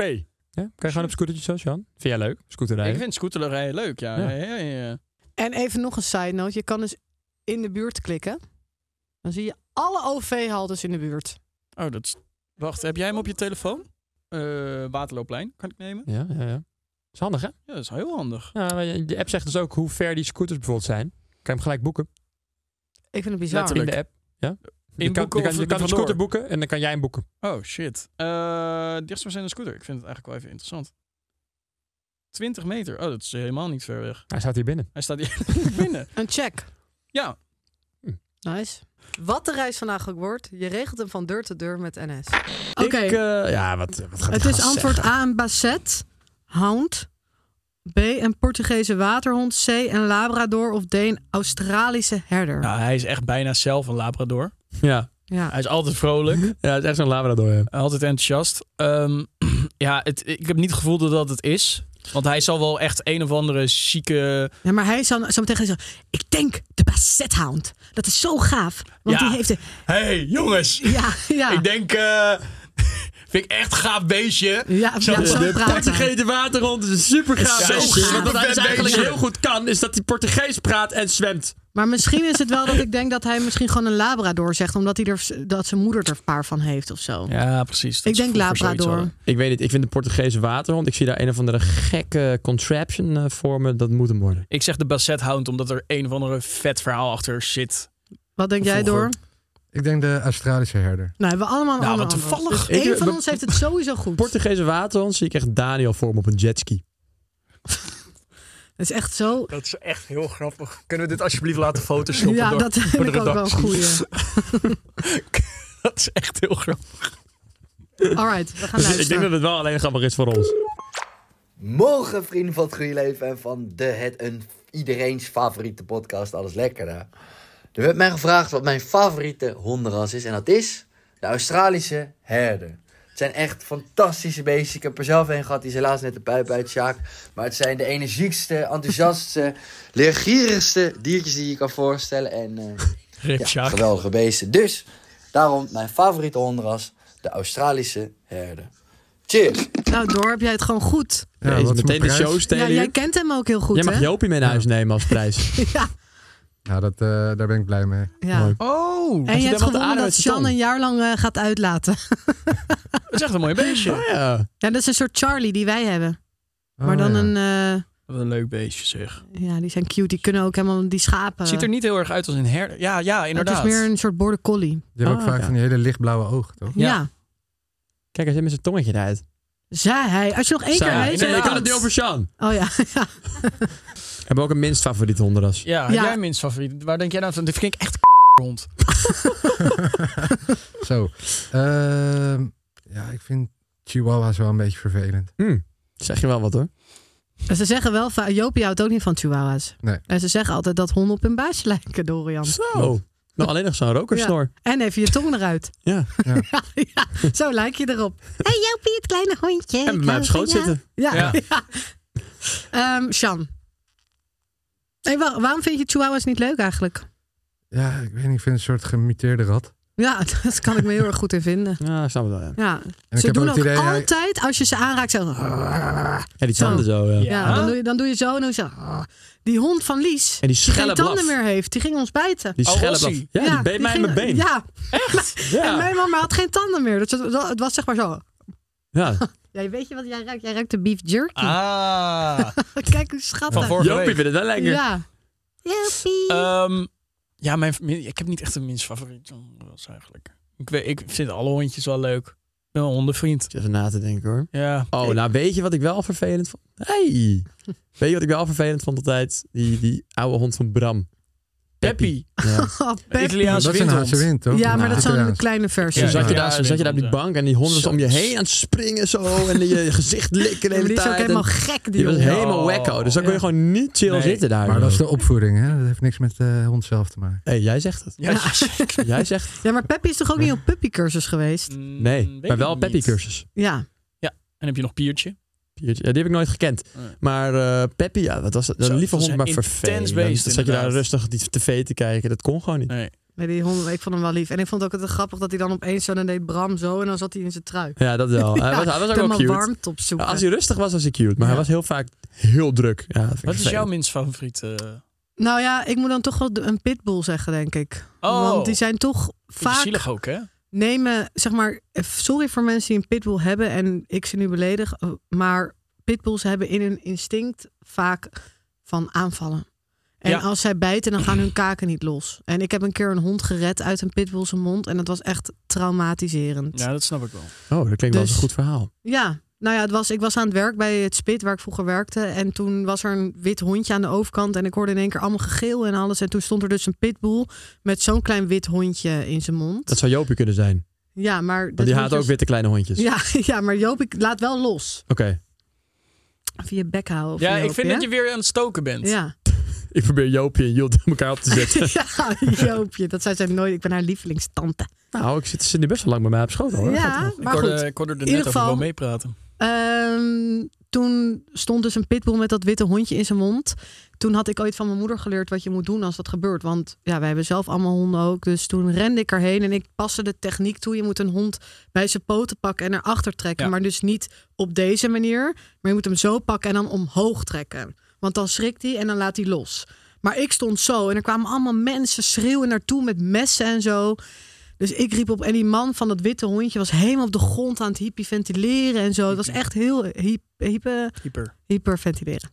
Speaker 3: Ja, kan je gewoon op scootertjes zo, Sean? Vind jij leuk? Scooterrijden?
Speaker 1: Ik vind scooterrijden leuk, ja.
Speaker 3: Ja.
Speaker 1: Ja. Ja, ja, ja.
Speaker 2: En even nog een side note. Je kan dus in de buurt klikken. Dan zie je alle OV-haltes in de buurt.
Speaker 1: Oh, dat is. Wacht, heb jij hem op je telefoon? Eh Waterloopplein, kan ik nemen?
Speaker 3: Ja, ja, ja. Is handig, hè?
Speaker 1: Ja, dat is heel handig.
Speaker 3: Ja, maar je- de app zegt dus ook hoe ver die scooters bijvoorbeeld zijn. Kan je hem gelijk boeken
Speaker 2: Ik vind het bizar.
Speaker 1: Letterlijk.
Speaker 3: in de app. Ja? je kan,
Speaker 1: Inboeken
Speaker 3: je
Speaker 1: of
Speaker 3: kan, je kan
Speaker 1: vandoor?
Speaker 3: een scooter boeken en dan kan jij hem boeken.
Speaker 1: Oh shit. Eh dichtstbij zijn een scooter. Ik vind het eigenlijk wel even interessant. 20 meter. Oh, dat is helemaal niet ver weg.
Speaker 3: Hij staat hier binnen.
Speaker 1: Hij staat hier [LAUGHS] binnen.
Speaker 2: Een check.
Speaker 1: Ja.
Speaker 2: Nice. Wat de reis vandaag ook wordt, je regelt hem van deur tot deur met NS. Oké,
Speaker 3: Ik, eh, ja, wat, wat gaat
Speaker 2: Het
Speaker 3: die
Speaker 2: is
Speaker 3: gast
Speaker 2: antwoord
Speaker 3: zeggen?
Speaker 2: A een basset, hound. B een Portugese waterhond. C een labrador. Of D een Australische herder. Ja.
Speaker 1: Nou, hij is echt bijna zelf een labrador.
Speaker 3: Ja.
Speaker 1: Hij is altijd vrolijk.
Speaker 3: ja, het is echt zo'n labrador. Ja.
Speaker 1: altijd enthousiast. Ehm, [CLEARS THROAT] ja, het, ik heb niet het gevoel dat dat het is. Want hij zal wel echt een of andere zieke...
Speaker 2: Ja, maar hij zal zo meteen gaan zeggen, ik denk de basset hound. Dat is zo gaaf. Want
Speaker 1: Ja.
Speaker 2: die heeft... Een,
Speaker 1: hey, jongens. [LAUGHS]
Speaker 2: ja, ja.
Speaker 1: Ik denk... eh, [LAUGHS] vind ik echt een gaaf beestje.
Speaker 2: ja,
Speaker 1: Zo-
Speaker 2: ja, zo
Speaker 3: De
Speaker 2: praten.
Speaker 3: Portugese waterhond is een super gaaf
Speaker 1: Zo
Speaker 3: beestje.
Speaker 1: gaaf.
Speaker 3: Want wat hij dus
Speaker 1: Vet
Speaker 3: eigenlijk
Speaker 1: beestje.
Speaker 3: heel goed kan, is dat hij Portugees praat en zwemt.
Speaker 2: Maar misschien is het wel dat ik denk dat hij misschien gewoon een labrador zegt. Omdat hij er, dat zijn moeder er een paar van heeft of zo.
Speaker 1: Ja, precies. Dat
Speaker 2: ik
Speaker 1: ze
Speaker 2: denk
Speaker 1: vroeger zoiets
Speaker 2: labrador.
Speaker 1: hadden.
Speaker 3: Ik weet niet, ik vind de Portugese waterhond, ik zie daar een of andere gekke contraption eh, voor me. Dat moet hem worden.
Speaker 1: Ik zeg de Basset Hound omdat er een of andere vet verhaal achter zit. [LAUGHS]
Speaker 2: Wat denk jij door?
Speaker 1: Vroeger.
Speaker 5: Ik denk de Australische herder.
Speaker 2: Nou, hebben we allemaal een
Speaker 1: Nou,
Speaker 2: ander
Speaker 1: wat
Speaker 2: antwoord.
Speaker 1: toevallig.
Speaker 2: Dus
Speaker 3: Ik-
Speaker 2: één van
Speaker 3: de-
Speaker 2: ons heeft het sowieso goed.
Speaker 3: Portugese waterhond zie ik echt Daniel voor me op een jetski.
Speaker 2: Het is echt zo
Speaker 1: Dat is echt heel grappig. Kunnen we dit alsjeblieft laten photoshoppen?
Speaker 2: Ja,
Speaker 1: door-
Speaker 2: dat [LAUGHS]
Speaker 1: door
Speaker 2: vind
Speaker 1: de
Speaker 2: ik ook wel een
Speaker 1: redactie?
Speaker 2: goeie.
Speaker 1: Dat is echt heel grappig.
Speaker 3: Dus
Speaker 2: Alright, we gaan luisteren.
Speaker 3: het wel alleen grappig is voor ons.
Speaker 6: Morgen, vrienden van het Goede Leven en van de het een iedereen's favoriete podcast, Alles Lekkerder. Er werd mij gevraagd wat mijn favoriete hondenras is en dat is de Australische herder. Het zijn echt fantastische beestjes. Ik heb er zelf een gehad, die is helaas net de pijp uit, Sjaak. Maar het zijn de energiekste, enthousiastste, leergierigste diertjes die je kan voorstellen. En eh,
Speaker 1: Rip,
Speaker 6: ja,
Speaker 1: Sjaak.
Speaker 6: geweldige beesten. Dus, daarom mijn favoriete hondenras, de Australische herder. Cheers!
Speaker 2: Nou, door heb jij het gewoon goed.
Speaker 3: Jezus,
Speaker 5: wat voor
Speaker 3: meteen de
Speaker 5: prijs?
Speaker 3: show
Speaker 2: Ja,
Speaker 3: stelen.
Speaker 2: jij
Speaker 3: hier.
Speaker 2: kent hem ook heel goed,
Speaker 3: Jij
Speaker 2: hè?
Speaker 3: mag Jopie mee naar huis nemen als
Speaker 2: [LAUGHS]
Speaker 3: prijs.
Speaker 2: Ja,
Speaker 5: Nou, dat, eh, daar ben ik blij mee.
Speaker 2: ja.
Speaker 3: Mooi.
Speaker 1: Oh,
Speaker 2: En je
Speaker 3: dan
Speaker 2: hebt
Speaker 3: wat
Speaker 2: gewonnen
Speaker 3: aarde
Speaker 2: dat
Speaker 3: uit je
Speaker 2: Sean
Speaker 3: tong?
Speaker 2: een jaar lang eh, gaat uitlaten.
Speaker 1: dat is echt een mooi beestje.
Speaker 3: ja.
Speaker 2: Ja, dat is een soort Charlie die wij hebben.
Speaker 5: Oh,
Speaker 2: maar dan
Speaker 5: ja.
Speaker 2: een... eh,
Speaker 1: Wat een leuk beestje zeg.
Speaker 2: ja, die zijn cute. Die kunnen ook helemaal... Die schapen.
Speaker 1: Ziet er niet heel erg uit als een herder. Ja, ja, inderdaad.
Speaker 2: Eh. Het is meer een soort border collie.
Speaker 5: Je hebt ook
Speaker 3: Ah,
Speaker 5: vaak
Speaker 3: ja.
Speaker 5: van die hele lichtblauwe ogen,
Speaker 2: [LAUGHS]
Speaker 5: toch?
Speaker 2: Ja.
Speaker 1: Ja.
Speaker 3: Kijk, hij zit met zijn tongetje eruit.
Speaker 2: Zei hij. Als je nog één
Speaker 3: Zij-
Speaker 2: keer
Speaker 3: Ja,
Speaker 2: heet...
Speaker 3: nee,
Speaker 1: inderdaad.
Speaker 3: ik had het niet over Sean.
Speaker 2: Oh ja. ja.
Speaker 3: Hebben we ook een minst favoriet hondenras.
Speaker 1: Ja, heb
Speaker 2: Ja.
Speaker 1: jij minst favoriet? Waar denk jij nou van? Dit vind ik echt rond.
Speaker 5: Zo. Ehm, ja, ik vind chihuahua's wel een beetje vervelend.
Speaker 3: Hm, Zeg je wel wat hoor.
Speaker 2: En Ze zeggen wel... va- Jopie houdt ook niet van chihuahuas.
Speaker 5: Nee.
Speaker 2: En ze zeggen altijd dat honden op hun baasje lijken, Dorian.
Speaker 3: Zo. Nou, alleen nog zo'n rokersnor.
Speaker 2: En even je tong eruit. [LAUGHS]
Speaker 3: Ja.
Speaker 2: Ja, ja, zo lijk je erop. Hé hey, Jopie, het kleine hondje.
Speaker 3: En bij mij op schoot zitten.
Speaker 2: Ja. ja.
Speaker 1: Ja.
Speaker 2: Ehm, Sjan. Hey, wa- waarom vind je chihuahuas niet leuk eigenlijk?
Speaker 5: Ja, ik weet niet, ik vind het een soort gemuteerde rat.
Speaker 2: Ja, [LAUGHS] dat kan ik me heel erg goed in vinden.
Speaker 3: Ja, ik snap het wel. Ja,
Speaker 2: Ja.
Speaker 5: En ik
Speaker 2: ze
Speaker 5: heb
Speaker 2: doen
Speaker 5: ook
Speaker 2: ook
Speaker 5: het idee, ja,
Speaker 2: altijd, als je ze aanraakt, zo... Ja,
Speaker 3: Ja, die tanden zo. Ja.
Speaker 2: dan, doe je, dan doe je zo en dan zo...
Speaker 5: Ah.
Speaker 2: Die hond van Lies,
Speaker 3: En
Speaker 2: die
Speaker 3: die
Speaker 2: geen
Speaker 3: schelle blaf.
Speaker 2: tanden meer heeft, die ging ons bijten.
Speaker 3: Die
Speaker 1: Oh,
Speaker 3: schelle blaf.
Speaker 1: Rossi.
Speaker 3: Ja, die beet mij in
Speaker 2: ging-
Speaker 3: mijn been.
Speaker 2: Ja, en
Speaker 3: Ja.
Speaker 2: mijn mama had geen tanden meer. Dus het, het was zeg maar zo...
Speaker 3: ja.
Speaker 2: Ja, weet je wat jij ruikt? Jij ruikt de beef jerky.
Speaker 1: Ah,
Speaker 2: [LAUGHS] Kijk hoe schattig.
Speaker 1: van vorige
Speaker 3: Jopie
Speaker 1: week.
Speaker 3: vindt het wel lekker. Eh,
Speaker 2: Ja. Joepie.
Speaker 1: [LAUGHS] Ehm, ja, mijn, min- ik heb niet echt een minst favoriet hondenras eigenlijk. Ik, weet, ik vind alle hondjes wel leuk. Ik ben een hondenvriend.
Speaker 3: Zit Even na te denken hoor.
Speaker 1: Ja.
Speaker 3: Oh, nou weet je wat ik wel vervelend vond?
Speaker 1: [LAUGHS]
Speaker 3: Hey! Weet je wat ik wel vervelend vond altijd? Die, die oude hond van Bram.
Speaker 1: Peppy.
Speaker 3: Ja.
Speaker 2: Oh,
Speaker 1: Een
Speaker 2: Pep.
Speaker 5: dat
Speaker 1: Italiaanse
Speaker 5: is een
Speaker 1: windhond.
Speaker 5: Haagse wind, toch?
Speaker 2: Ja, maar
Speaker 5: Nou,
Speaker 2: dat is
Speaker 5: Italiaans.
Speaker 2: zo'n kleine versie.
Speaker 3: Toen
Speaker 1: Ja,
Speaker 3: zat je,
Speaker 1: ja,
Speaker 3: daar,
Speaker 1: ja,
Speaker 3: zat je daar op die
Speaker 1: ja.
Speaker 3: bank en die hond was om je
Speaker 1: Zo.
Speaker 3: heen aan het springen zo.
Speaker 1: [LAUGHS]
Speaker 3: En je gezicht likken de
Speaker 2: Die
Speaker 3: hele
Speaker 2: is ook
Speaker 3: tijd.
Speaker 2: helemaal
Speaker 3: En
Speaker 2: gek. Die,
Speaker 3: Die was
Speaker 2: hond.
Speaker 3: helemaal
Speaker 1: Oh.
Speaker 3: wacko. Dus dan kon je
Speaker 1: Ja.
Speaker 3: gewoon niet chill
Speaker 1: Nee.
Speaker 3: zitten daar.
Speaker 5: Maar dat is de opvoeding, hè? Dat heeft niks met de hond zelf te maken.
Speaker 3: hey, jij zegt het.
Speaker 1: Ja,
Speaker 3: Jij zegt het.
Speaker 2: [LAUGHS] Ja, maar Peppy is toch ook niet op puppycursus geweest?
Speaker 1: Mm,
Speaker 3: Nee, maar wel Peppy cursus.
Speaker 2: Ja.
Speaker 1: En heb je nog Piertje?
Speaker 3: Piertje. Ja, die heb ik nooit gekend.
Speaker 1: Nee.
Speaker 3: Maar eh Peppy, ja, wat was dat? Een
Speaker 1: Zo,
Speaker 3: lieve
Speaker 1: dat is
Speaker 3: hond,
Speaker 1: een
Speaker 3: maar
Speaker 1: intens
Speaker 3: vervelend.
Speaker 1: beest,
Speaker 3: Dan zat je daar
Speaker 1: inderdaad.
Speaker 3: rustig die tv te kijken. Dat kon gewoon niet.
Speaker 1: Nee.
Speaker 2: Nee, die hond, ik vond hem wel lief. En ik vond het ook het grappig dat hij dan opeens zo... dan deed Bram zo en dan zat hij in zijn trui.
Speaker 3: Ja, dat wel. hij, was, hij was ook wel
Speaker 2: helemaal
Speaker 3: cute.
Speaker 2: warmte
Speaker 3: Ja,
Speaker 2: opzoeken.
Speaker 3: Als hij rustig was, was hij cute. Maar hij
Speaker 2: Ja.
Speaker 3: was heel vaak heel druk. Ja, dat vind ik
Speaker 1: Wat is
Speaker 3: vervelend.
Speaker 1: jouw minst favoriet? eh,
Speaker 2: Nou ja, ik moet dan toch wel de- een pitbull zeggen, denk ik.
Speaker 1: Oh.
Speaker 2: Want die zijn toch
Speaker 1: Vind je
Speaker 2: vaak...
Speaker 1: zielig ook, hè?
Speaker 2: nemen, zeg maar, eh, sorry voor mensen die een pitbull hebben en ik ze nu beledig, eh, maar pitbulls hebben in hun instinct vaak van aanvallen. En
Speaker 1: Ja.
Speaker 2: als zij bijten, dan gaan hun kaken niet los. En ik heb een keer een hond gered uit een pitbull zijn mond en dat was echt traumatiserend.
Speaker 1: Ja, dat snap ik wel.
Speaker 3: Oh, dat klinkt wel eens
Speaker 2: Dus-
Speaker 3: een goed verhaal.
Speaker 2: Ja, nou ja, het was, ik was aan het werk bij het spit waar ik vroeger werkte. En toen was er een wit hondje aan de overkant. En ik hoorde in één keer allemaal gegil en alles. En toen stond er dus een pitbull met zo'n klein wit hondje in zijn mond.
Speaker 3: Dat zou Jopie kunnen zijn.
Speaker 2: Ja, maar... dat dus-
Speaker 3: Want die haat
Speaker 2: hondje
Speaker 3: ook
Speaker 2: is-
Speaker 3: witte kleine
Speaker 1: Dus-
Speaker 3: hondjes.
Speaker 2: Ja, [LAUGHS] ja, maar Joop, ik laat wel los.
Speaker 3: Oké,
Speaker 2: Via bek houden. of
Speaker 1: Ja,
Speaker 2: Joop,
Speaker 1: ik vind
Speaker 2: hè?
Speaker 1: dat je weer aan het stoken bent.
Speaker 2: Ja. [LAUGHS]
Speaker 3: ik probeer Jopie en Jult [LAUGHS] elkaar op te zetten.
Speaker 2: ja, Joopje. Dat zei zij nooit. Ik ben haar lievelingstante.
Speaker 3: nou, ik zit ze nu best wel lang bij mij op schoot hoor. Gaat
Speaker 2: Ja,
Speaker 3: wel.
Speaker 2: maar
Speaker 1: ik, hoorde,
Speaker 2: goed.
Speaker 1: ik hoorde er
Speaker 2: ieder
Speaker 1: net over
Speaker 2: geval-
Speaker 1: wel meepraten.
Speaker 2: Ehm, toen stond dus een pitbull met dat witte hondje in zijn mond. Toen had ik ooit van mijn moeder geleerd wat je moet doen als dat gebeurt. Want ja, wij hebben zelf allemaal honden ook. Dus toen rende ik erheen en ik paste de techniek toe. Je moet een hond bij zijn poten pakken en erachter trekken.
Speaker 1: Ja.
Speaker 2: Maar dus niet op deze manier. Maar je moet hem zo pakken en dan omhoog trekken. Want dan schrikt hij en dan laat hij los. Maar ik stond zo en er kwamen allemaal mensen schreeuwen naartoe met messen en zo. Dus ik riep op en die man van dat witte hondje was helemaal op de grond aan het hyperventileren en zo. Het was echt heel hyp, hyper,
Speaker 1: Hyper.
Speaker 2: hyperventileren.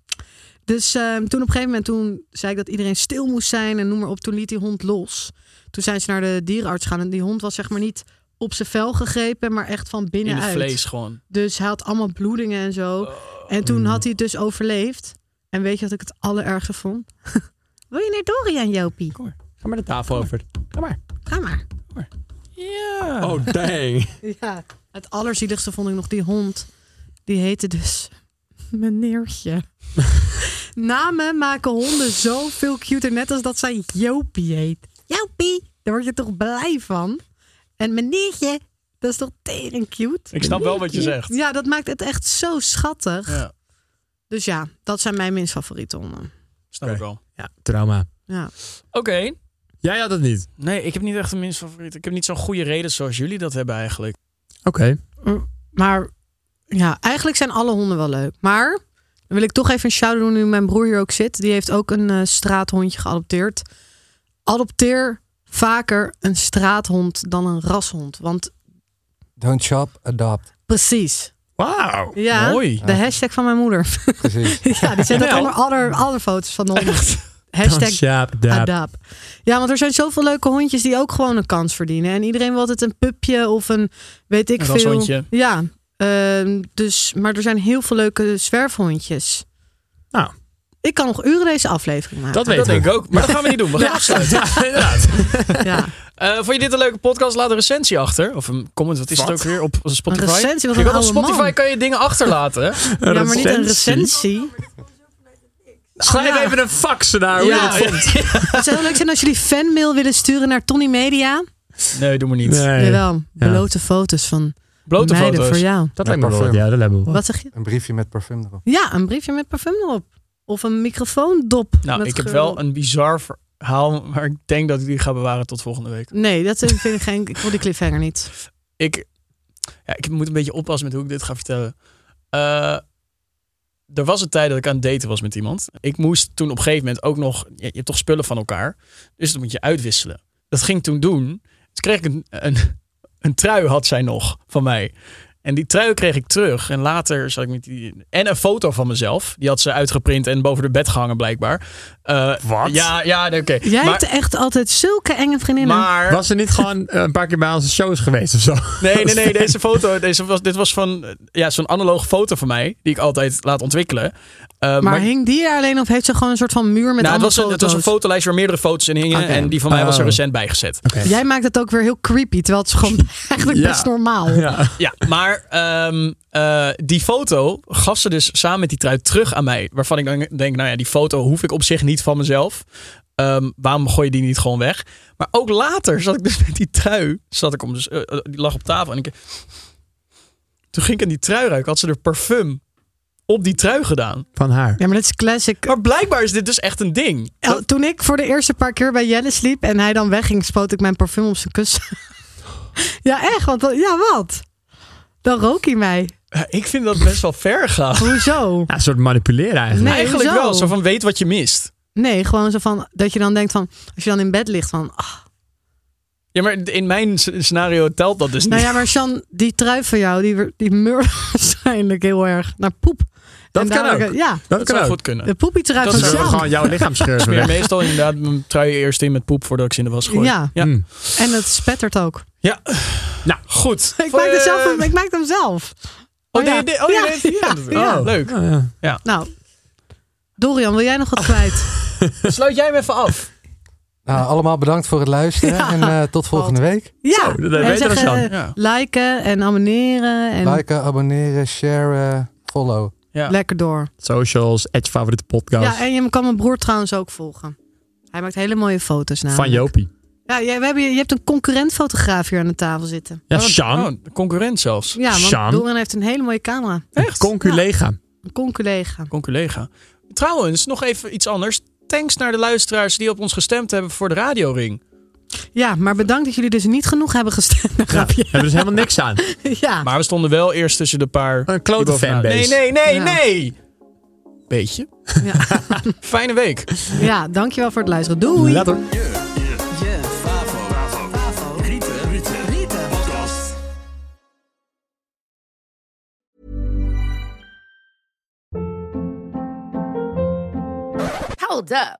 Speaker 2: Dus ehm, toen op een gegeven moment toen zei ik dat iedereen stil moest zijn en noem maar op. Toen liet die hond los. Toen zijn ze naar de dierenarts gaan en die hond was zeg maar niet op zijn vel gegrepen, maar echt van
Speaker 1: In het
Speaker 2: binnenuit.
Speaker 1: vlees Oh. gewoon.
Speaker 2: Dus hij had allemaal bloedingen en zo. En toen had hij het dus overleefd. En weet je wat ik het allerergste vond? [LAUGHS] Wil je naar Dorian, Jopie?
Speaker 3: Ga maar de tafel over. Ga maar.
Speaker 2: Ga maar.
Speaker 1: Ja.
Speaker 3: Oh, dang.
Speaker 2: Ja. Het allerzieligste vond ik nog die hond. Die heette dus [LAUGHS] meneertje. [LAUGHS] Namen maken honden zo veel cuter, net als dat zij Jopie heet. Jopie, daar word je toch blij van? En meneertje, dat is toch tering cute?
Speaker 1: Ik snap wel wat je zegt.
Speaker 2: Ja, dat maakt het echt zo schattig.
Speaker 1: Ja,
Speaker 2: Dus ja, dat zijn mijn minst favoriete honden.
Speaker 1: snap ik wel.
Speaker 3: Ja, trauma.
Speaker 2: Ja.
Speaker 1: Oké.
Speaker 3: Jij had het niet.
Speaker 1: Nee, ik heb niet echt een minst favoriet. Ik heb niet zo'n goede reden zoals jullie dat hebben eigenlijk.
Speaker 3: Oké.
Speaker 2: Maar ja, eigenlijk zijn alle honden wel leuk. Maar dan wil ik toch even een shout-out doen nu mijn broer hier ook zit. Die heeft ook een eh, straathondje geadopteerd. Adopteer vaker een straathond dan een rashond. Want
Speaker 5: Don't shop, adopt.
Speaker 2: precies.
Speaker 3: Wauw.
Speaker 2: Ja,
Speaker 1: Mooi.
Speaker 2: de hashtag van mijn moeder.
Speaker 5: Precies.
Speaker 2: [LAUGHS] ja, die zet dat
Speaker 1: Ja.
Speaker 2: onder alle, alle foto's van de honden.
Speaker 3: Dan
Speaker 2: Hashtag
Speaker 3: sjaap, daap.
Speaker 2: Adaap. Ja, want er zijn zoveel leuke hondjes die ook gewoon een kans verdienen. En iedereen wil altijd een pupje of een weet ik
Speaker 1: Een
Speaker 2: veel.
Speaker 1: rashondje.
Speaker 2: Ja. ehm, dus, maar er zijn heel veel leuke zwerfhondjes.
Speaker 3: Nou.
Speaker 2: Ik kan nog uren deze aflevering maken.
Speaker 3: Dat
Speaker 1: Dat
Speaker 3: weten
Speaker 1: denk
Speaker 3: we.
Speaker 1: ik ook. Maar dat gaan we niet doen. We gaan afsluiten. [LAUGHS] Inderdaad.
Speaker 2: Ja.
Speaker 1: Eh, vond je dit een leuke podcast? Laat een recensie achter. Of een comment. Wat is
Speaker 3: Wat?
Speaker 1: het ook weer op Spotify?
Speaker 2: Een recensie, wat
Speaker 1: Je
Speaker 2: een
Speaker 1: kan op
Speaker 2: oude man.
Speaker 1: Spotify kan je dingen achterlaten. hè?
Speaker 2: [LAUGHS] ja, maar niet een recensie.
Speaker 3: Schrijf
Speaker 2: Ja.
Speaker 3: even een fax
Speaker 1: Oh,
Speaker 3: naar hoe
Speaker 2: Ja.
Speaker 3: je het vond.
Speaker 2: Het zou heel leuk zijn als jullie fanmail willen sturen naar Tony Media.
Speaker 1: Nee, doe maar niet.
Speaker 2: Jawel, blote foto's van
Speaker 1: Blote
Speaker 2: meiden
Speaker 1: foto's.
Speaker 2: voor jou.
Speaker 3: Dat
Speaker 5: lijkt me wel wat.
Speaker 3: Ja, dat hebben we wel.
Speaker 2: Wat zeg je?
Speaker 5: Een briefje met parfum erop.
Speaker 2: Ja, een briefje met parfum erop. Of een microfoondop.
Speaker 1: Nou,
Speaker 2: met
Speaker 1: ik heb
Speaker 2: geur
Speaker 1: wel een bizar verhaal. Maar ik denk dat ik die ga bewaren tot volgende week.
Speaker 2: Nee, dat vind ik geen. Ik wil die cliffhanger niet.
Speaker 1: ik, ja, ik moet een beetje oppassen met hoe ik dit ga vertellen. Eh, er was een tijd dat ik aan het daten was met iemand. Ik moest toen op een gegeven moment ook nog... Je, je hebt toch spullen van elkaar. Dus dat moet je uitwisselen. Dat ging ik toen doen. Toen kreeg ik een, een, een trui had zij nog van mij. En die trui kreeg ik terug. En later zat ik met die... En een foto van mezelf. Die had ze uitgeprint en boven de bed gehangen blijkbaar. Eh,
Speaker 3: Wat?
Speaker 1: Ja, ja nee, oké.
Speaker 2: Jij
Speaker 1: Maar-
Speaker 2: hebt echt altijd zulke enge vriendinnen.
Speaker 1: maar...
Speaker 3: Was er niet gewoon eh, een paar keer bij onze shows geweest of zo?
Speaker 1: Nee, nee,
Speaker 2: [LAUGHS]
Speaker 1: nee. Deze foto, deze was, dit was van eh, ja, zo'n analoge foto van mij, die ik altijd laat ontwikkelen. Eh,
Speaker 2: maar, hing die er alleen of heeft ze gewoon een soort van muur met
Speaker 1: nou, het,
Speaker 2: allemaal
Speaker 1: was een, het was een
Speaker 2: foto's?
Speaker 1: fotolijst waar meerdere foto's in hingen.
Speaker 2: Oké.
Speaker 1: En die van mij was er
Speaker 3: Oh.
Speaker 1: recent bijgezet.
Speaker 2: Jij maakt het ook weer heel creepy, terwijl het is
Speaker 1: [LAUGHS]
Speaker 2: gewoon [LAUGHS] eigenlijk
Speaker 3: Ja.
Speaker 2: best normaal.
Speaker 3: Ja.
Speaker 1: Ja, maar ehm, eh, die foto gaf ze dus samen met die trui terug aan mij. Waarvan ik dan denk, nou ja, die foto hoef ik op zich niet van mezelf. Ehm, waarom gooi je die niet gewoon weg? Maar ook later zat ik dus met die trui. Zat ik om, dus, eh, eh, die lag op tafel en ik... Toen ging ik aan die trui ruiken, had ze er parfum op die trui gedaan.
Speaker 3: Van haar.
Speaker 2: Ja, maar dat is classic.
Speaker 1: Maar blijkbaar is dit dus echt een ding.
Speaker 2: El- Toen ik voor de eerste paar keer bij Jelle sliep en hij dan wegging, spoot ik mijn parfum op zijn kussen. [LAUGHS] ja, echt? Want, dan- ja, wat? Dan rook hij mij.
Speaker 1: Ja, Ik vind dat best wel ver gaan. [LAUGHS]
Speaker 2: Hoezo?
Speaker 3: Ja, een soort manipuleren eigenlijk.
Speaker 2: Nee,
Speaker 1: Eigenlijk
Speaker 2: hoezo?
Speaker 1: wel, zo van weet wat je mist.
Speaker 2: Nee, gewoon zo van dat je dan denkt van, als je dan in bed ligt van, ah.
Speaker 1: Ja, maar in mijn s- scenario telt dat dus
Speaker 2: [LAUGHS]
Speaker 1: niet.
Speaker 2: nou ja, maar Sjan, die trui van jou, die, die meur [LAUGHS] waarschijnlijk heel erg naar poep.
Speaker 3: Dat
Speaker 2: En
Speaker 3: kan
Speaker 2: dadelijk-
Speaker 3: ook.
Speaker 2: Ja,
Speaker 3: Dat,
Speaker 1: dat
Speaker 3: kan
Speaker 1: zou
Speaker 3: ook.
Speaker 1: goed kunnen.
Speaker 2: de poepietrui
Speaker 1: Dat
Speaker 2: van
Speaker 1: is
Speaker 3: Zullen we
Speaker 2: Sjan.
Speaker 3: gewoon Oh, jouw lichaam
Speaker 1: Ik smeer
Speaker 3: scheuren. weg?
Speaker 1: meestal inderdaad mijn trui eerst in met poep voordat ik ze in de was gooi.
Speaker 2: Ja.
Speaker 1: ja.
Speaker 3: Hm.
Speaker 2: En het spettert ook.
Speaker 1: Nou, goed.
Speaker 2: [LAUGHS] Ik maak,
Speaker 1: het
Speaker 2: het zelf, ik maak hem zelf.
Speaker 1: Oh,
Speaker 2: Oh, ja.
Speaker 1: nee, nee, oh,
Speaker 2: Ja,
Speaker 1: je deed- je
Speaker 2: ja,
Speaker 1: deed het.
Speaker 2: ja.
Speaker 1: Oh, Leuk.
Speaker 3: Oh, ja.
Speaker 2: Nou, Dorian, wil jij nog wat
Speaker 3: Oh.
Speaker 2: kwijt?
Speaker 1: Sluit jij hem even af.
Speaker 5: Nou, allemaal bedankt voor het luisteren en eh, tot volgende week.
Speaker 2: Ja,
Speaker 3: Zo, dat weet
Speaker 2: En
Speaker 3: je dan,
Speaker 2: zeggen,
Speaker 3: Sjan.
Speaker 1: Ja.
Speaker 2: liken en abonneren en
Speaker 5: Liken, abonneren, sharen, follow.
Speaker 1: Ja.
Speaker 2: lekker door.
Speaker 3: Socials, Edge favoriete podcast.
Speaker 2: Ja, en je kan mijn broer trouwens ook volgen. Hij maakt hele mooie foto's namelijk.
Speaker 3: van Jopie.
Speaker 2: Ja, jij- we hebben, je hebt een concurrent-fotograaf hier aan de tafel zitten.
Speaker 3: Ja,
Speaker 1: Oh,
Speaker 3: Sjan.
Speaker 1: oh, de concurrent zelfs.
Speaker 2: Ja, want
Speaker 3: Sjan?
Speaker 2: Dorian heeft een hele mooie camera.
Speaker 1: Echt?
Speaker 3: Conculega.
Speaker 2: Een conculega.
Speaker 1: Conculega. Trouwens, nog even iets anders. Thanks naar de luisteraars die op ons gestemd hebben voor de radioring.
Speaker 2: Ja, maar bedankt dat jullie dus niet genoeg hebben gestemd.
Speaker 3: Ja. Hebben we dus helemaal niks aan.
Speaker 2: [LAUGHS] ja.
Speaker 1: Maar we stonden wel eerst tussen de paar...
Speaker 3: Een klote
Speaker 1: die bovenaan-
Speaker 3: fanbase.
Speaker 1: Nee, nee, nee,
Speaker 2: Ja.
Speaker 1: nee! Weet je?
Speaker 2: Ja.
Speaker 1: Fijne week.
Speaker 2: ja, dankjewel voor het luisteren. Doei!
Speaker 3: Later.
Speaker 7: Hold up.